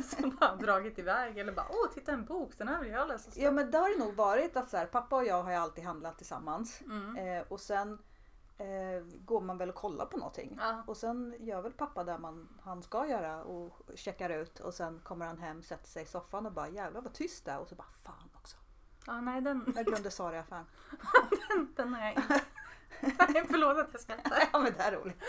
A: som bara dragit iväg eller bara åh titta en bok, den här vill jag läsa.
B: Ja men det har det nog varit att så här, pappa och jag har ju alltid handlat tillsammans.
A: Mm.
B: Eh, och sen eh, går man väl och kollar på någonting.
A: Ja.
B: Och sen gör väl pappa det man, han ska göra och checkar ut och sen kommer han hem, sätter sig i soffan och bara jävlar vad tyst det är och så bara fan också.
A: ja, nej den,
B: Jag glömde Sara i affären.
A: den har jag
B: *laughs*
A: inte. *laughs* Nej, förlåt att jag skrattar.
B: Ja men det här är roligt.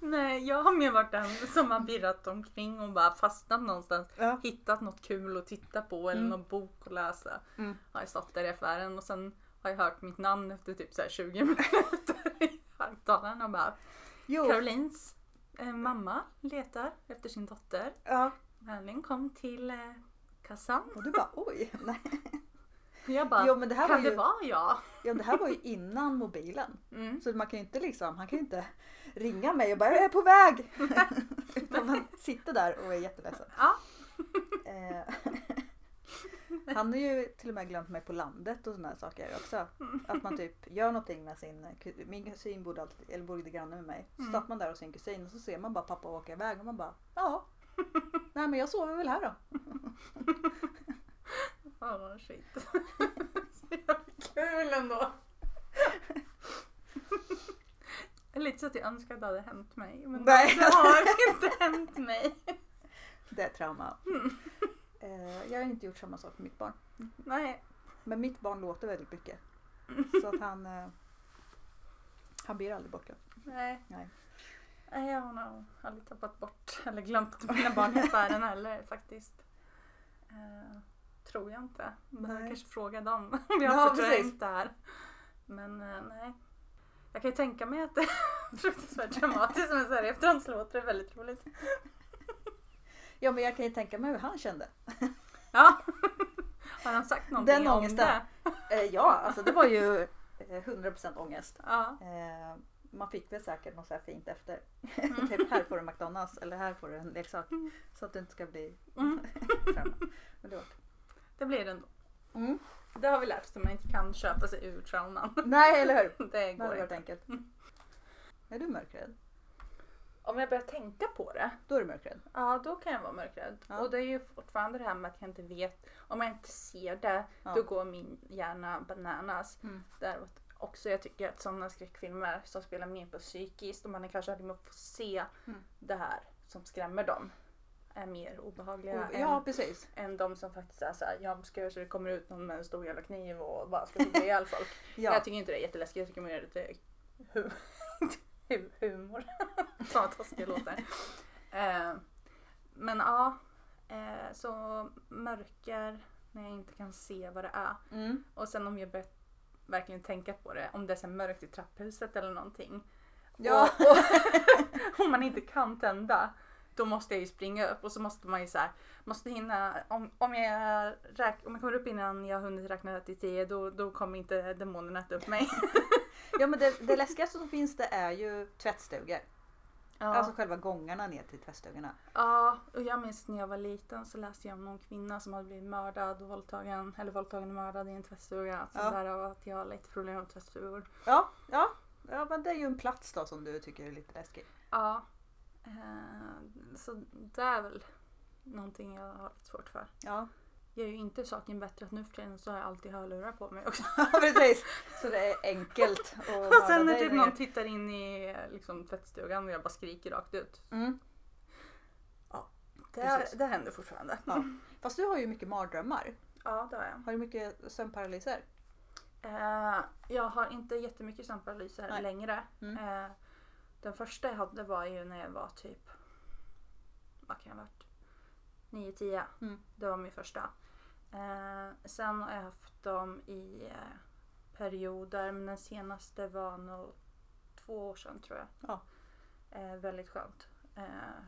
A: Nej, jag har mer varit den som har virrat omkring och bara fastnat någonstans.
B: Ja.
A: Hittat något kul att titta på eller någon bok att läsa.
B: Mm.
A: Har jag stått där i affären och sen har jag hört mitt namn efter typ så här 20 *laughs* minuter i högtalaren och bara
B: Jo,
A: Carolines eh, mamma letar efter sin dotter.
B: ja.
A: Vänligen kom till eh, kassan.
B: och du bara oj. Nej.
A: Och Jag bara,
B: Jo, men det här
A: kan
B: var
A: det
B: ju-
A: vara jag?
B: Ja, det här var ju innan mobilen.
A: Mm.
B: Så man kan ju inte liksom, han kan ju inte ringa mig och bara jag är
A: *laughs*
B: på väg. Utan man sitter där och är jätteledsen.
A: Ja.
B: Eh, Han har ju till och med glömt mig på landet och såna här saker också. Att man typ gör någonting med sin ku- Min kusin bodde, alltid, eller bodde granne med mig. Så
A: Mm.
B: satt man där hos sin kusin och så ser man bara pappa åka iväg och man bara ja. Nej men jag sover väl här då.
A: Oh, shit. *laughs* Så jävla Kul ändå. Lite så att jag önskar att det hade hänt mig. Men
B: Nej.
A: det
B: *laughs*
A: har inte hänt mig.
B: Det är ett trauma.
A: Mm.
B: Eh, Jag har inte gjort samma sak med mitt barn.
A: Nej.
B: Men mitt barn låter
A: *laughs*
B: väldigt mycket. Så att han eh, Han blir aldrig bortglömd.
A: Nej.
B: Nej.
A: Nej, Jag har nog aldrig tappat bort eller glömt mina barn i affären heller faktiskt. Eh, tror jag inte. Men jag
B: Nej.
A: kanske fråga dem *laughs* om jag har
B: Ja,
A: förträngt
B: precis.
A: det här. Men eh, nej. Jag kan ju tänka mig att det är *laughs* fruktansvärt dramatiskt men så här i efterhand så låter det väldigt roligt.
B: Ja men jag kan ju tänka mig hur han kände.
A: Ja. Har han sagt någonting
B: Den
A: om
B: ångesten.
A: det?
B: Eh, Ja alltså det var ju eh, 100% ångest.
A: Ja.
B: Eh, man fick väl säkert något så här fint efter.
A: Mm.
B: *laughs* typ här får du McDonalds eller här får du en leksak. Så att du inte ska bli
A: Mm.
B: trauma. Men det var...
A: Det blir det ändå.
B: *laughs* mm.
A: Det har vi lärt oss att man inte kan köpa sig ur trauman. *laughs*
B: Nej eller
A: Det
B: hur? Det
A: går
B: hade varit
A: inte.
B: enkelt. Är du mörkrädd?
A: Om jag börjar tänka på det
B: Då är du mörkrädd.
A: Ja, då kan jag vara mörkrädd.
B: Ja.
A: Och det är ju fortfarande det här med att jag inte vet. Om jag inte ser det,
B: Ja.
A: då går min hjärna bananas.
B: Mm.
A: Däremot också, jag tycker att sådana skräckfilmer som spelar mer på psykiskt och man är kanske hade med att få se
B: Mm.
A: det här som skrämmer dem är mer obehagliga
B: Och- Oh, Ja precis.
A: än, än de som faktiskt är såhär, jag ska göra så det kommer ut någon med en stor jävla kniv och bara ska hugga ihjäl folk.
B: Ja.
A: Jag tycker inte det är jätteläskigt, jag tycker mer att det är *laughs* hu- hu- humor. *laughs* Fan vad taskigt det låter. Eh, men ja, eh, så mörker när jag inte kan se vad det är.
B: Mm.
A: Och sen om jag börjar verkligen tänka på det, om det är så här mörkt i trapphuset eller någonting.
B: Ja.
A: Och, och, *laughs* om man inte kan tända, då måste jag ju springa upp och så måste man ju så här, måste hinna, om, om, jag räk, om jag kommer upp innan jag har hunnit räkna till tio, då, då kommer inte demonen äta upp mig.
B: ja men det, det läskigaste som finns det är ju tvättstugor.
A: Ja.
B: Alltså själva gångarna ner till tvättstugorna.
A: Ja, och jag minns när jag var liten så läste jag om någon kvinna som hade blivit mördad och våldtagen, eller våldtagen och mördad i en tvättstuga. Så
B: Ja.
A: därav att jag har lite problem med tvättstugor.
B: Ja, ja. ja men det är ju en plats då som du tycker är lite läskig.
A: Ja. Eh, så det är väl någonting jag har lite svårt för.
B: *laughs* Ja,
A: Gör ju inte saken bättre att nu för tiden så har jag alltid hörlurar på mig också.
B: precis. Så det är enkelt.
A: *laughs*
B: *laughs*
A: Och sen när typ någon tittar in i eh, liksom, tvättstugan och jag bara skriker rakt ut.
B: Mm.
A: Det,
B: Precis.
A: det händer fortfarande.
B: Ja. Fast du har ju mycket mardrömmar.
A: Ja, det har jag.
B: Har du mycket sömnparalyser?
A: Eh, jag har inte jättemycket sömnparalyser
B: Nej.
A: längre.
B: Mm.
A: Eh, den första jag hade var ju när jag var typ, vad kan jag ha varit, 9-10.
B: Mm.
A: Det var min första. Eh, sen har jag haft dem i eh, perioder, men den senaste var nog två år sedan tror jag.
B: Ja.
A: Eh, väldigt skönt. Eh,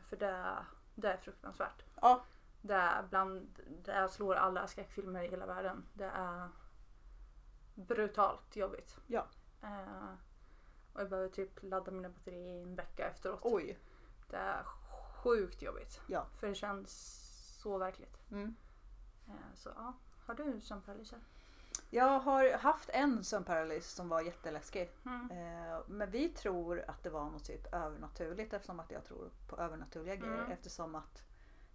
A: för det, det är fruktansvärt.
B: Ja.
A: Det är bland, det är slår alla skräckfilmer i hela världen. Det är brutalt jobbigt.
B: Ja.
A: Eh, och jag behöver typ ladda mina batterier i en vecka efteråt.
B: Oj.
A: Det är sjukt jobbigt.
B: Ja.
A: För det känns så verkligt.
B: Mm.
A: Eh, så ja. Har du sömnparalyser?
B: Jag har haft en sömnparalys som var jätteläskig.
A: Mm.
B: Eh, Men vi tror att det var något typ övernaturligt eftersom att jag tror på övernaturliga grejer.
A: Mm.
B: Eftersom att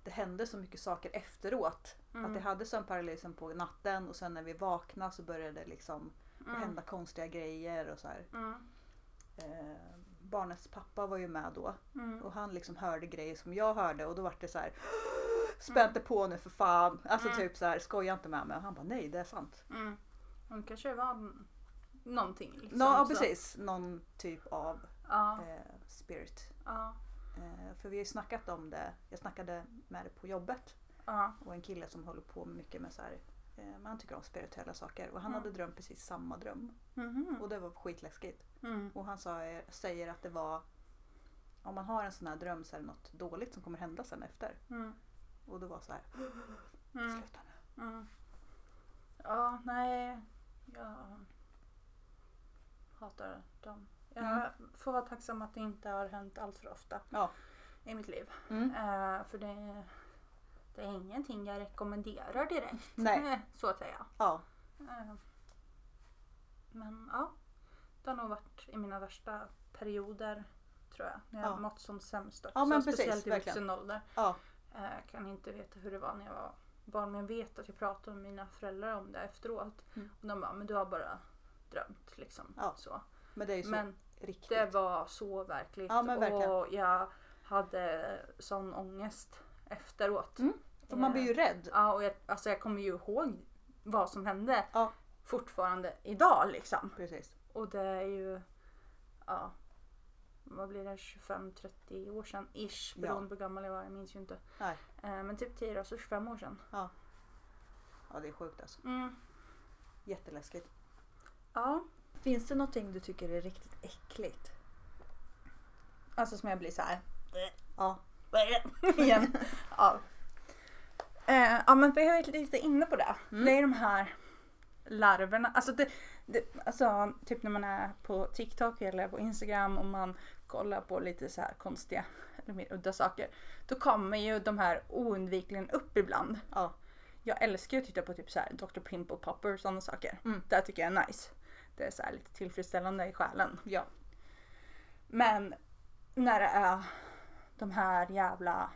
B: det hände så mycket saker efteråt.
A: Mm.
B: Att jag hade sömnparalysen på natten och sen när vi vaknade så började det liksom
A: Mm.
B: hända konstiga grejer. Och så här.
A: Mm.
B: Eh, barnets pappa var ju med då
A: Mm.
B: och han liksom hörde grejer som jag hörde och då var det så här Spänn inte på nu för fan! Alltså
A: Mm.
B: typ så här, skoja inte med mig. Och han bara nej det är sant.
A: Mm. Men kanske det var n- någonting. Liksom,
B: Nå, ja
A: så.
B: precis, någon typ av
A: Ja,
B: eh, spirit.
A: ja,
B: Eh, För vi har ju snackat om det. Jag snackade med det på jobbet
A: ja.
B: och en kille som håller på mycket med så här. eh, men Han tycker om spirituella saker och han
A: Mm.
B: hade drömt precis samma dröm.
A: Mhm.
B: Och det var skitläskigt.
A: Mm.
B: Och han sa, eh, säger att det var om man har en sån här dröm så är det något dåligt som kommer hända sen efter.
A: Mm.
B: Och det var så här,
A: Mm.
B: sluta nu.
A: Mm. Ja, nej. Jag hatar dem. Jag får vara tacksam att det inte har hänt allt för ofta
B: Mm. Ja.
A: i mitt liv.
B: Mm.
A: Eh, för det, det är ingenting jag rekommenderar direkt.
B: Nej,
A: *laughs* Så att säga.
B: ja.
A: Eh, Men ja, det har nog varit i mina värsta perioder tror jag. När jag
B: Ja.
A: har mått som sämst också.
B: Ja, men precis,
A: speciellt i
B: verkligen.
A: vuxen ålder.
B: Ja.
A: Eh, kan inte veta hur det var när jag var barn men jag vet att jag pratade med mina föräldrar om det efteråt.
B: Mm.
A: Och de bara, men du har bara drömt liksom.
B: Ja,
A: så.
B: Men det är ju så
A: Men
B: riktigt.
A: det var så verkligt
B: Ja, men verkligen.
A: och jag hade sån ångest efteråt. Eh,
B: Mm. För man blir ju rädd.
A: Ja, och jag, alltså jag kommer ju ihåg vad som hände
B: Ja.
A: fortfarande idag liksom.
B: Precis.
A: Och det är ju, ja, vad blir det, 25-30 år sedan ish.
B: Ja.
A: Beroende på hur gammal jag var, jag minns ju inte.
B: Nej.
A: Eh, men typ 10 år, så 25 år sedan.
B: Ja det är sjukt alltså.
A: Mm.
B: Jätteläskigt.
A: Ja.
B: Finns det någonting du tycker är riktigt äckligt?
A: Alltså som jag blir så här.
B: Ja. *laughs*
A: igen. ja. Eh, ja men vi har varit lite inne på det.
B: Mm.
A: Det är de här larverna. Alltså, det, det, alltså typ när man är på TikTok eller på Instagram och man kollar på lite så här konstiga eller mer udda saker. Då kommer ju de här oundvikligen upp ibland.
B: Ja.
A: Jag älskar ju att titta på typ så här Dr. Pimple Popper och sådana saker.
B: Mm.
A: Det tycker jag är nice. Det är så här lite tillfredsställande i själen.
B: Ja.
A: Men när det är de här jävla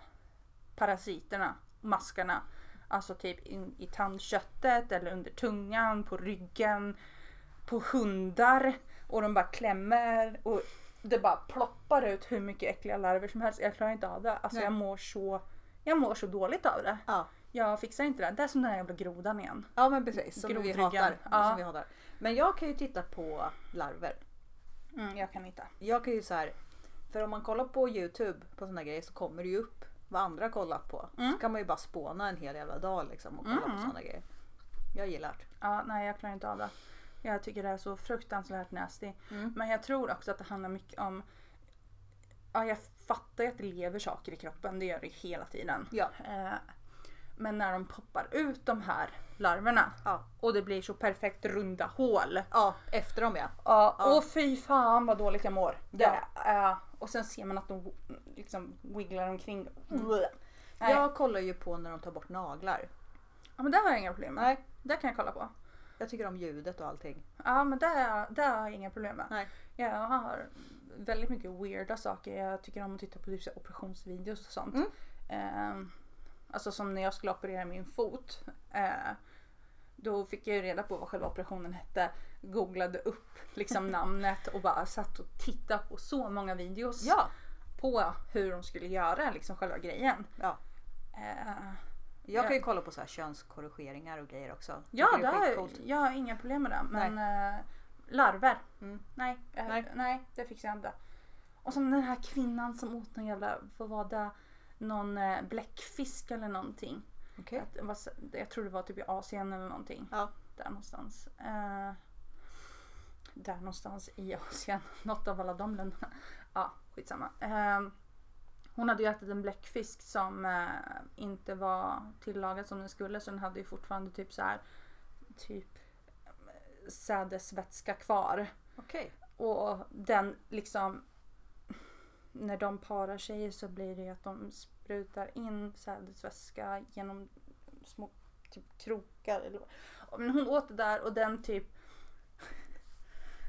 A: parasiterna, maskarna, alltså typ in, i tandköttet eller under tungan, på ryggen, på hundar och de bara klämmer och det bara ploppar ut hur mycket äckliga larver som helst. Jag klarar inte av det. Alltså
B: Nej.
A: jag mår, så, jag mår så dåligt av det.
B: Ja.
A: Jag fixar inte det. Det är som den här jävla grodan igen.
B: Ja men precis, som vi,
A: Grodryggen.
B: hatar,
A: Ja.
B: som vi hatar. Men jag kan ju titta på larver.
A: Mm, jag kan inte.
B: Jag kan ju så här, för om man kollar på Youtube på sådana grejer så kommer det ju upp vad andra har kollat på. Så kan man ju bara spåna en hel jävla dag liksom och kolla på sådana grejer. Jag gillar det.
A: Ja, nej jag klarar inte av det. Jag tycker det är så fruktansvärt nasty. Men jag tror också att det handlar mycket om... Ja, jag fattar ju att det lever saker i kroppen, det gör det hela tiden.
B: Ja.
A: Eh, men när de poppar ut de här larverna
B: Ja.
A: och det blir så perfekt runda hål.
B: ja, efter dem ja.
A: Ja, Åh fy fan vad dåligt jag mår. Det,
B: Ja.
A: ja. Och sen ser man att de liksom wigglar omkring. Nej.
B: Jag Mm. kollar ju på när de tar bort naglar.
A: Ja men det har jag inga problem med.
B: Nej.
A: Det kan jag kolla på.
B: Jag tycker om ljudet och allting.
A: Ja men det, det har jag inga problem med.
B: Nej.
A: Jag har väldigt mycket weirda saker. Jag tycker om att titta på typ så här operationsvideos och sånt.
B: Mm.
A: Eh, alltså som när jag skulle operera min fot. Eh, då fick jag ju reda på vad själva operationen hette. Googlade upp
B: *laughs*
A: liksom namnet och bara satt och tittade på så många videos.
B: Ja!
A: På hur de skulle göra liksom själva grejen.
B: ja.
A: Eh,
B: Jag kan
A: Ja.
B: ju kolla på så här könskorrigeringar och grejer också.
A: Ja,
B: Tycker
A: det har jag,
B: skitcoolt.
A: jag har inga problem med det. Men eh, larver.
B: Mm.
A: Nej, eh,
B: Nej.
A: nej. det fixar jag inte. Och som den här kvinnan som åt någon jävla, vad var det? Någon eh, bläckfisk eller någonting.
B: Okej.
A: Att det var s- Jag tror det var typ i Asien eller någonting.
B: Ja.
A: Där någonstans. Eh, där någonstans i *laughs* Asien. Något av alla de länderna. Ja, skitsamma. Eh, hon hade ju ätit en bläckfisk som eh, inte var tillagad som den skulle så den hade ju fortfarande typ så här typ eh, sädesvätska kvar.
B: Okej.
A: Och den liksom när de parar sig så blir det ju att de sprutar in sädesvätska genom små typ krokar. Eller... vad. Men hon åt det där och den typ *laughs*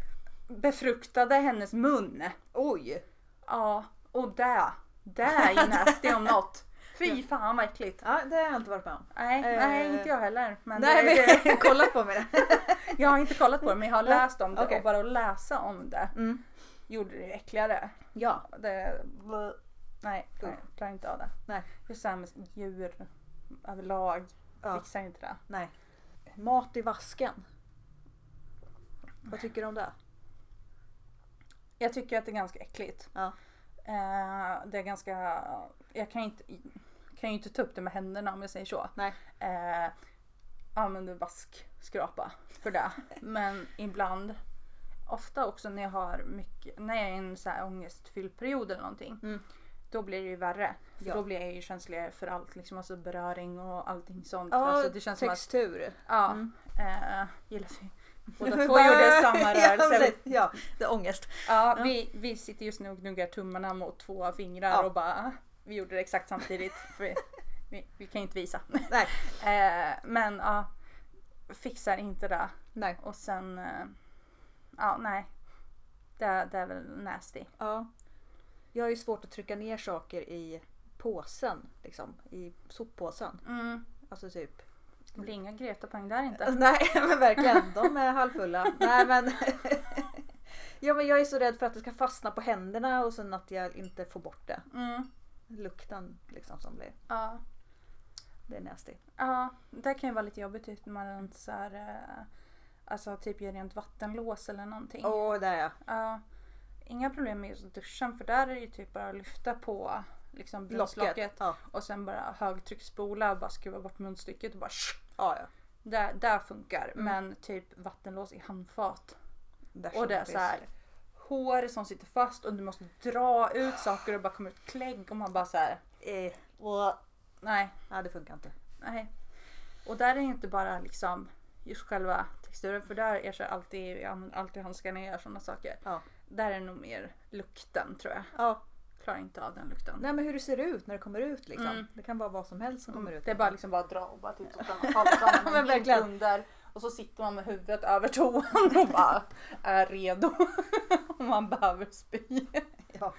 A: befruktade hennes mun.
B: Oj!
A: Ja, och det. Det är ju nasty om något. Fy fan vad äckligt.
B: Ja, det har jag inte varit med om.
A: Nej,
B: Eh.
A: nej inte jag heller. Men
B: Nej,
A: det, det,
B: men kolla på mig det.
A: jag har inte kollat på det
B: *laughs*
A: men jag har läst om det
B: Okej.
A: och bara att läsa om det
B: *laughs* Mm.
A: gjorde det ju äckligare.
B: Ja.
A: Det, nej, nej, jag klarar inte av det.
B: Nej.
A: Just det här med djur överlag.
B: Ja.
A: Fixar inte det.
B: Nej. Mat i vasken. Vad tycker du om det?
A: Jag tycker att det är ganska äckligt.
B: Ja.
A: Eh, det är ganska... Jag kan ju inte, kan ju inte ta upp det med händerna om jag säger så.
B: Nej.
A: Eh, använder vaskskrapa för det. Men ibland, ofta också när jag har mycket, när jag är i en så här ångestfylld period eller någonting.
B: Mm.
A: Då blir det ju värre. För
B: Ja.
A: Då blir jag ju känsligare för allt, liksom, alltså beröring och allting sånt.
B: Ja,
A: alltså, det känns som att,
B: textur.
A: ja,
B: Mm.
A: eh, gillar vi.
B: *laughs*
A: Båda två gjorde samma
B: ja,
A: rörelse.
B: precis. *laughs* ja, det är ångest.
A: Ja, Vi, vi sitter just nu och gnuggar tummarna mot två fingrar
B: Ja.
A: och bara vi gjorde det exakt samtidigt. För vi, vi, vi kan ju inte visa.
B: Nej.
A: *laughs* Eh, men ja, fixar inte det.
B: Nej.
A: Och sen, eh, ja nej. Det, det är väl nasty.
B: Ja. Jag har ju svårt att trycka ner saker i påsen. Liksom. I soppåsen.
A: Mm.
B: Alltså typ.
A: Det blir inga Greta-poäng där inte.
B: *laughs* Nej men verkligen. De är halvfulla. Nej men. *laughs* Ja men jag är så rädd för att det ska fastna på händerna och sen att jag inte får bort det.
A: Mm.
B: Lukten liksom som blir.
A: Ja.
B: Det är nasty.
A: ja, det kan ju vara lite jobbigt typ, när man inte så här, eh, alltså typ gör rent vattenlås eller någonting.
B: Åh där ja.
A: Ja. Inga problem med just duschen för där är det ju typ bara att lyfta på liksom brunnslocket
B: Ja.
A: och sen bara högtrycksspola och bara skruva bort munstycket och bara sh-
B: ja, ja.
A: där, där funkar.
B: Mm.
A: Men typ vattenlås i handfat.
B: Värsta
A: Och det är
B: jobbis.
A: så här hår som sitter fast och du måste dra ut saker och bara kommer ut klägg och man bara så här.
B: Eh, och-
A: nej,
B: Ja det funkar inte.
A: nej. Och där är det inte bara liksom just själva texturen för där är jag alltid, jag använder alltid handskar när jag gör sådana saker.
B: Ja.
A: Där är det nog mer lukten tror jag.
B: Ja.
A: Klarar inte av den lukten.
B: Nej men hur det ser ut när det kommer ut liksom.
A: Mm.
B: Det kan vara vad som helst som kommer ut.
A: Det är bara liksom bara att dra och bara titta åt *laughs* annat håll. Så har man
B: Men
A: en hink
B: verkligen.
A: under och så sitter man med huvudet över toan och bara är redo *laughs* om man behöver spy.
B: Ja.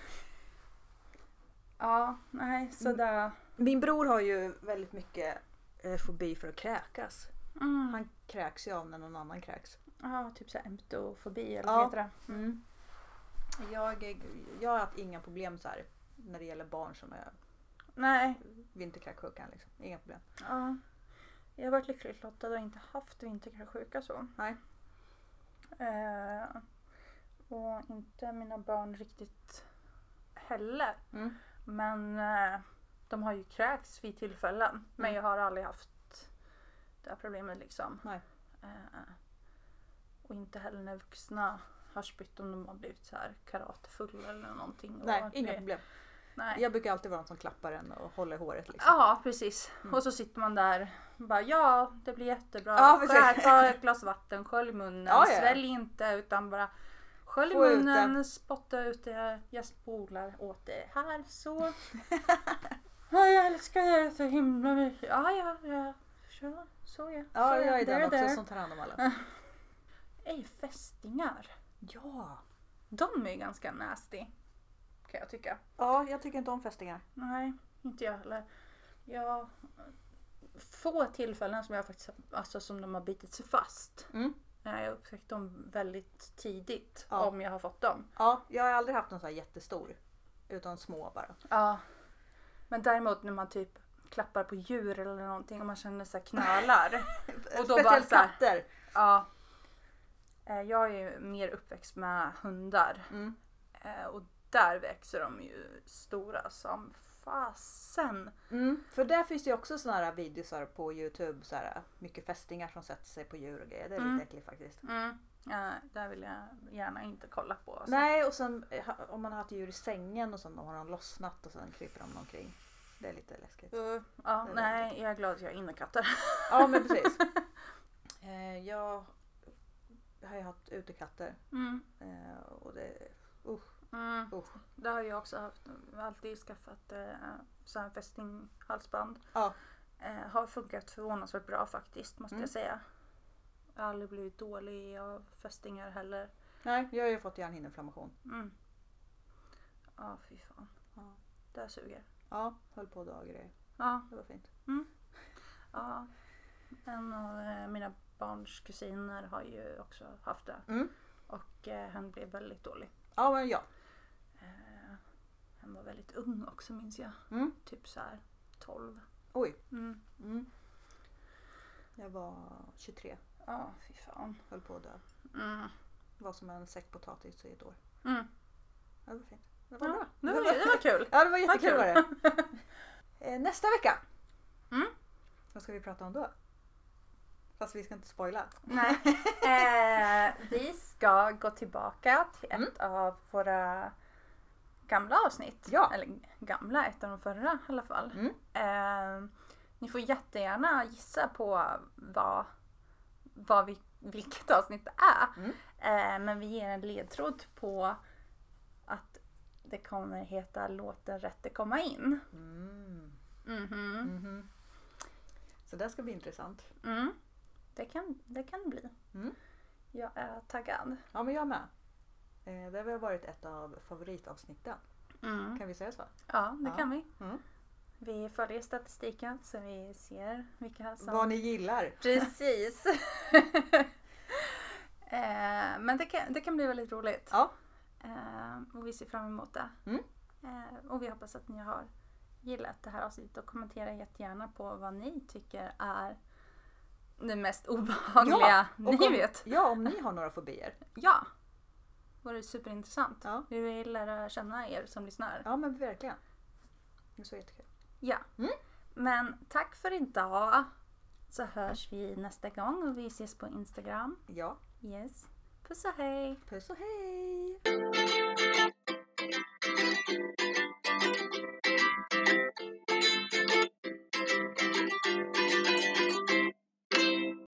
A: Ja, nej så
B: Mm.
A: där.
B: Min bror har ju väldigt mycket eh, fobi för att kräkas.
A: Mm.
B: Han kräks ju av när någon annan kräks.
A: Ja, typ såhär emtofobi eller vad
B: Ja.
A: heter det?
B: Jag, är- jag har haft inga problem så här när det gäller barn som är
A: Nej.
B: vinterkräksjukan. Liksom. Inga problem.
A: Ja. Jag har varit lyckligt lottad och inte haft vinterkräksjuka så.
B: Nej.
A: Eh, och inte mina barn riktigt heller.
B: Mm.
A: Men eh, de har ju kräkts vid tillfällen. Men
B: Mm.
A: jag har aldrig haft det här problemet liksom.
B: Nej.
A: Eh, och inte heller när vuxna har spytt om de har blivit så här karatefulla eller någonting.
B: Nej,
A: Och-
B: inga problem.
A: Nej.
B: Jag brukar alltid vara den som klappar en och håller i håret. Liksom.
A: Ja, precis. Och så sitter man där och bara ja, det blir jättebra.
B: Ja, precis.
A: Skär, ta ett glas vatten, skölj munnen.
B: Ja, ja, ja.
A: Svälj inte utan bara skölj
B: Få ut
A: munnen, spotta ut det. Jag spolar åt det här
B: *laughs*
A: så. ja, jag älskar det så himla mycket. Ja, ja, jag Så, så ja.
B: Ja,
A: så
B: jag är den
A: There,
B: också
A: there.
B: som tar hand om alla.
A: Ej, fästingar.
B: Ja.
A: De är ju ganska nasty. Kan jag tycka.
B: Ja, jag tycker inte om fästingar.
A: Nej, inte jag heller. Jag... Få tillfällen som jag faktiskt, alltså som de har bitit sig fast.
B: Mm.
A: Eh, Jag upptäckte dem väldigt tidigt
B: Ja.
A: om jag har fått dem.
B: Ja, jag har aldrig haft någon sån här jättestor. Utan små bara.
A: Ja. Men däremot när man typ klappar på djur eller någonting och man känner sig
B: *laughs*
A: knölar. Och då bara
B: Speciellt
A: så här-
B: katter.
A: ja. Eh, Jag är ju mer uppväxt med hundar
B: Mm.
A: eh, och där växer de ju stora som fasen.
B: Mm. För där finns det ju också såna här videosar på Youtube. Så här, mycket fästingar som sätter sig på djur och grejer. Det är
A: Mm.
B: lite äckligt faktiskt.
A: Mm. Eh, Där vill jag gärna inte kolla på. Så.
B: Nej, och sen eh, ha- om man har haft djur i sängen och sen har de lossnat och sen kryper de omkring. Det är lite läskigt.
A: Uh, ja,
B: Det är
A: nej, jag är glad att jag har innekatter.
B: Ja, men precis. *laughs* Eh, jag har ju haft utekatter.
A: Mm,
B: Eh, och det, usch,
A: mm.
B: usch.
A: Det har jag också haft. Jag har alltid skaffat eh, så här fästinghalsband.
B: Ja.
A: Eh, har funkat förvånansvärt bra faktiskt, måste
B: Mm.
A: jag säga. Jag har aldrig blivit dålig av fästingar heller.
B: Nej, jag har ju fått hjärnhinneinflammation.
A: Mm. Ja, fy fan.
B: Ja.
A: Det här suger.
B: Ja, höll på att dö och grejer.
A: Ja,
B: Det var fint.
A: ja. En av eh, mina barns kusiner har ju också haft det.
B: Mm.
A: Och eh, han blev väldigt dålig.
B: Ja, men ja.
A: Eh, han var väldigt ung också minns jag.
B: Mm.
A: Typ så här 12.
B: Oj.
A: Mm.
B: Mm. Jag var 23,
A: Ja, fy fan.
B: höll på att dö.
A: Mm.
B: Var som en säck potatis i ett år.
A: Mm.
B: Ja, det var fint. Det var
A: Ja,
B: bra.
A: det, var, det var kul.
B: Ja, det var
A: Vad
B: jättekul
A: kul.
B: var det. *laughs* Eh, Nästa vecka.
A: Mm.
B: Vad ska vi prata om då? Fast vi ska inte spoila.
A: Nej. *laughs* Eh, vi ska gå tillbaka till ett
B: Mm.
A: av våra gamla avsnitt.
B: Ja.
A: Eller gamla, ett av de förra i alla fall.
B: Mm.
A: Eh, ni får jättegärna gissa på vad, vad vi, vilket avsnitt det är.
B: Mm.
A: Eh, men vi ger en ledtråd på att det kommer heta Låt den rätte komma in.
B: Mm.
A: Mhm.
B: Mhm. Så det ska bli intressant.
A: Mm. Det, kan, det kan bli.
B: Mm.
A: Jag är taggad.
B: Ja, men jag med. Eh, Det har väl varit ett av favoritavsnitten.
A: Mm.
B: Kan vi säga så?
A: Ja, det
B: Ja.
A: kan vi.
B: Mm.
A: Vi följer statistiken så vi ser vilka som...
B: Vad ni gillar.
A: *laughs* Precis! *laughs* eh, men det kan, det kan bli väldigt roligt.
B: Ja.
A: Eh, och vi ser fram emot det.
B: Mm.
A: Eh, och vi hoppas att ni har gillat det här avsnittet och kommentera jättegärna på vad ni tycker är det mest *laughs* obehagliga
B: och
A: ni
B: om,
A: vet.
B: Ja, om ni har några fobier.
A: Ja! Vore superintressant.
B: Ja.
A: Vi vill lära känna er som lyssnar.
B: Ja, men verkligen. Det så jättekul.
A: Ja.
B: Mm.
A: Men tack för idag. Så hörs vi nästa gång och vi ses på Instagram.
B: Ja,
A: Yes. Puss och hej.
B: Oh, puss och hej!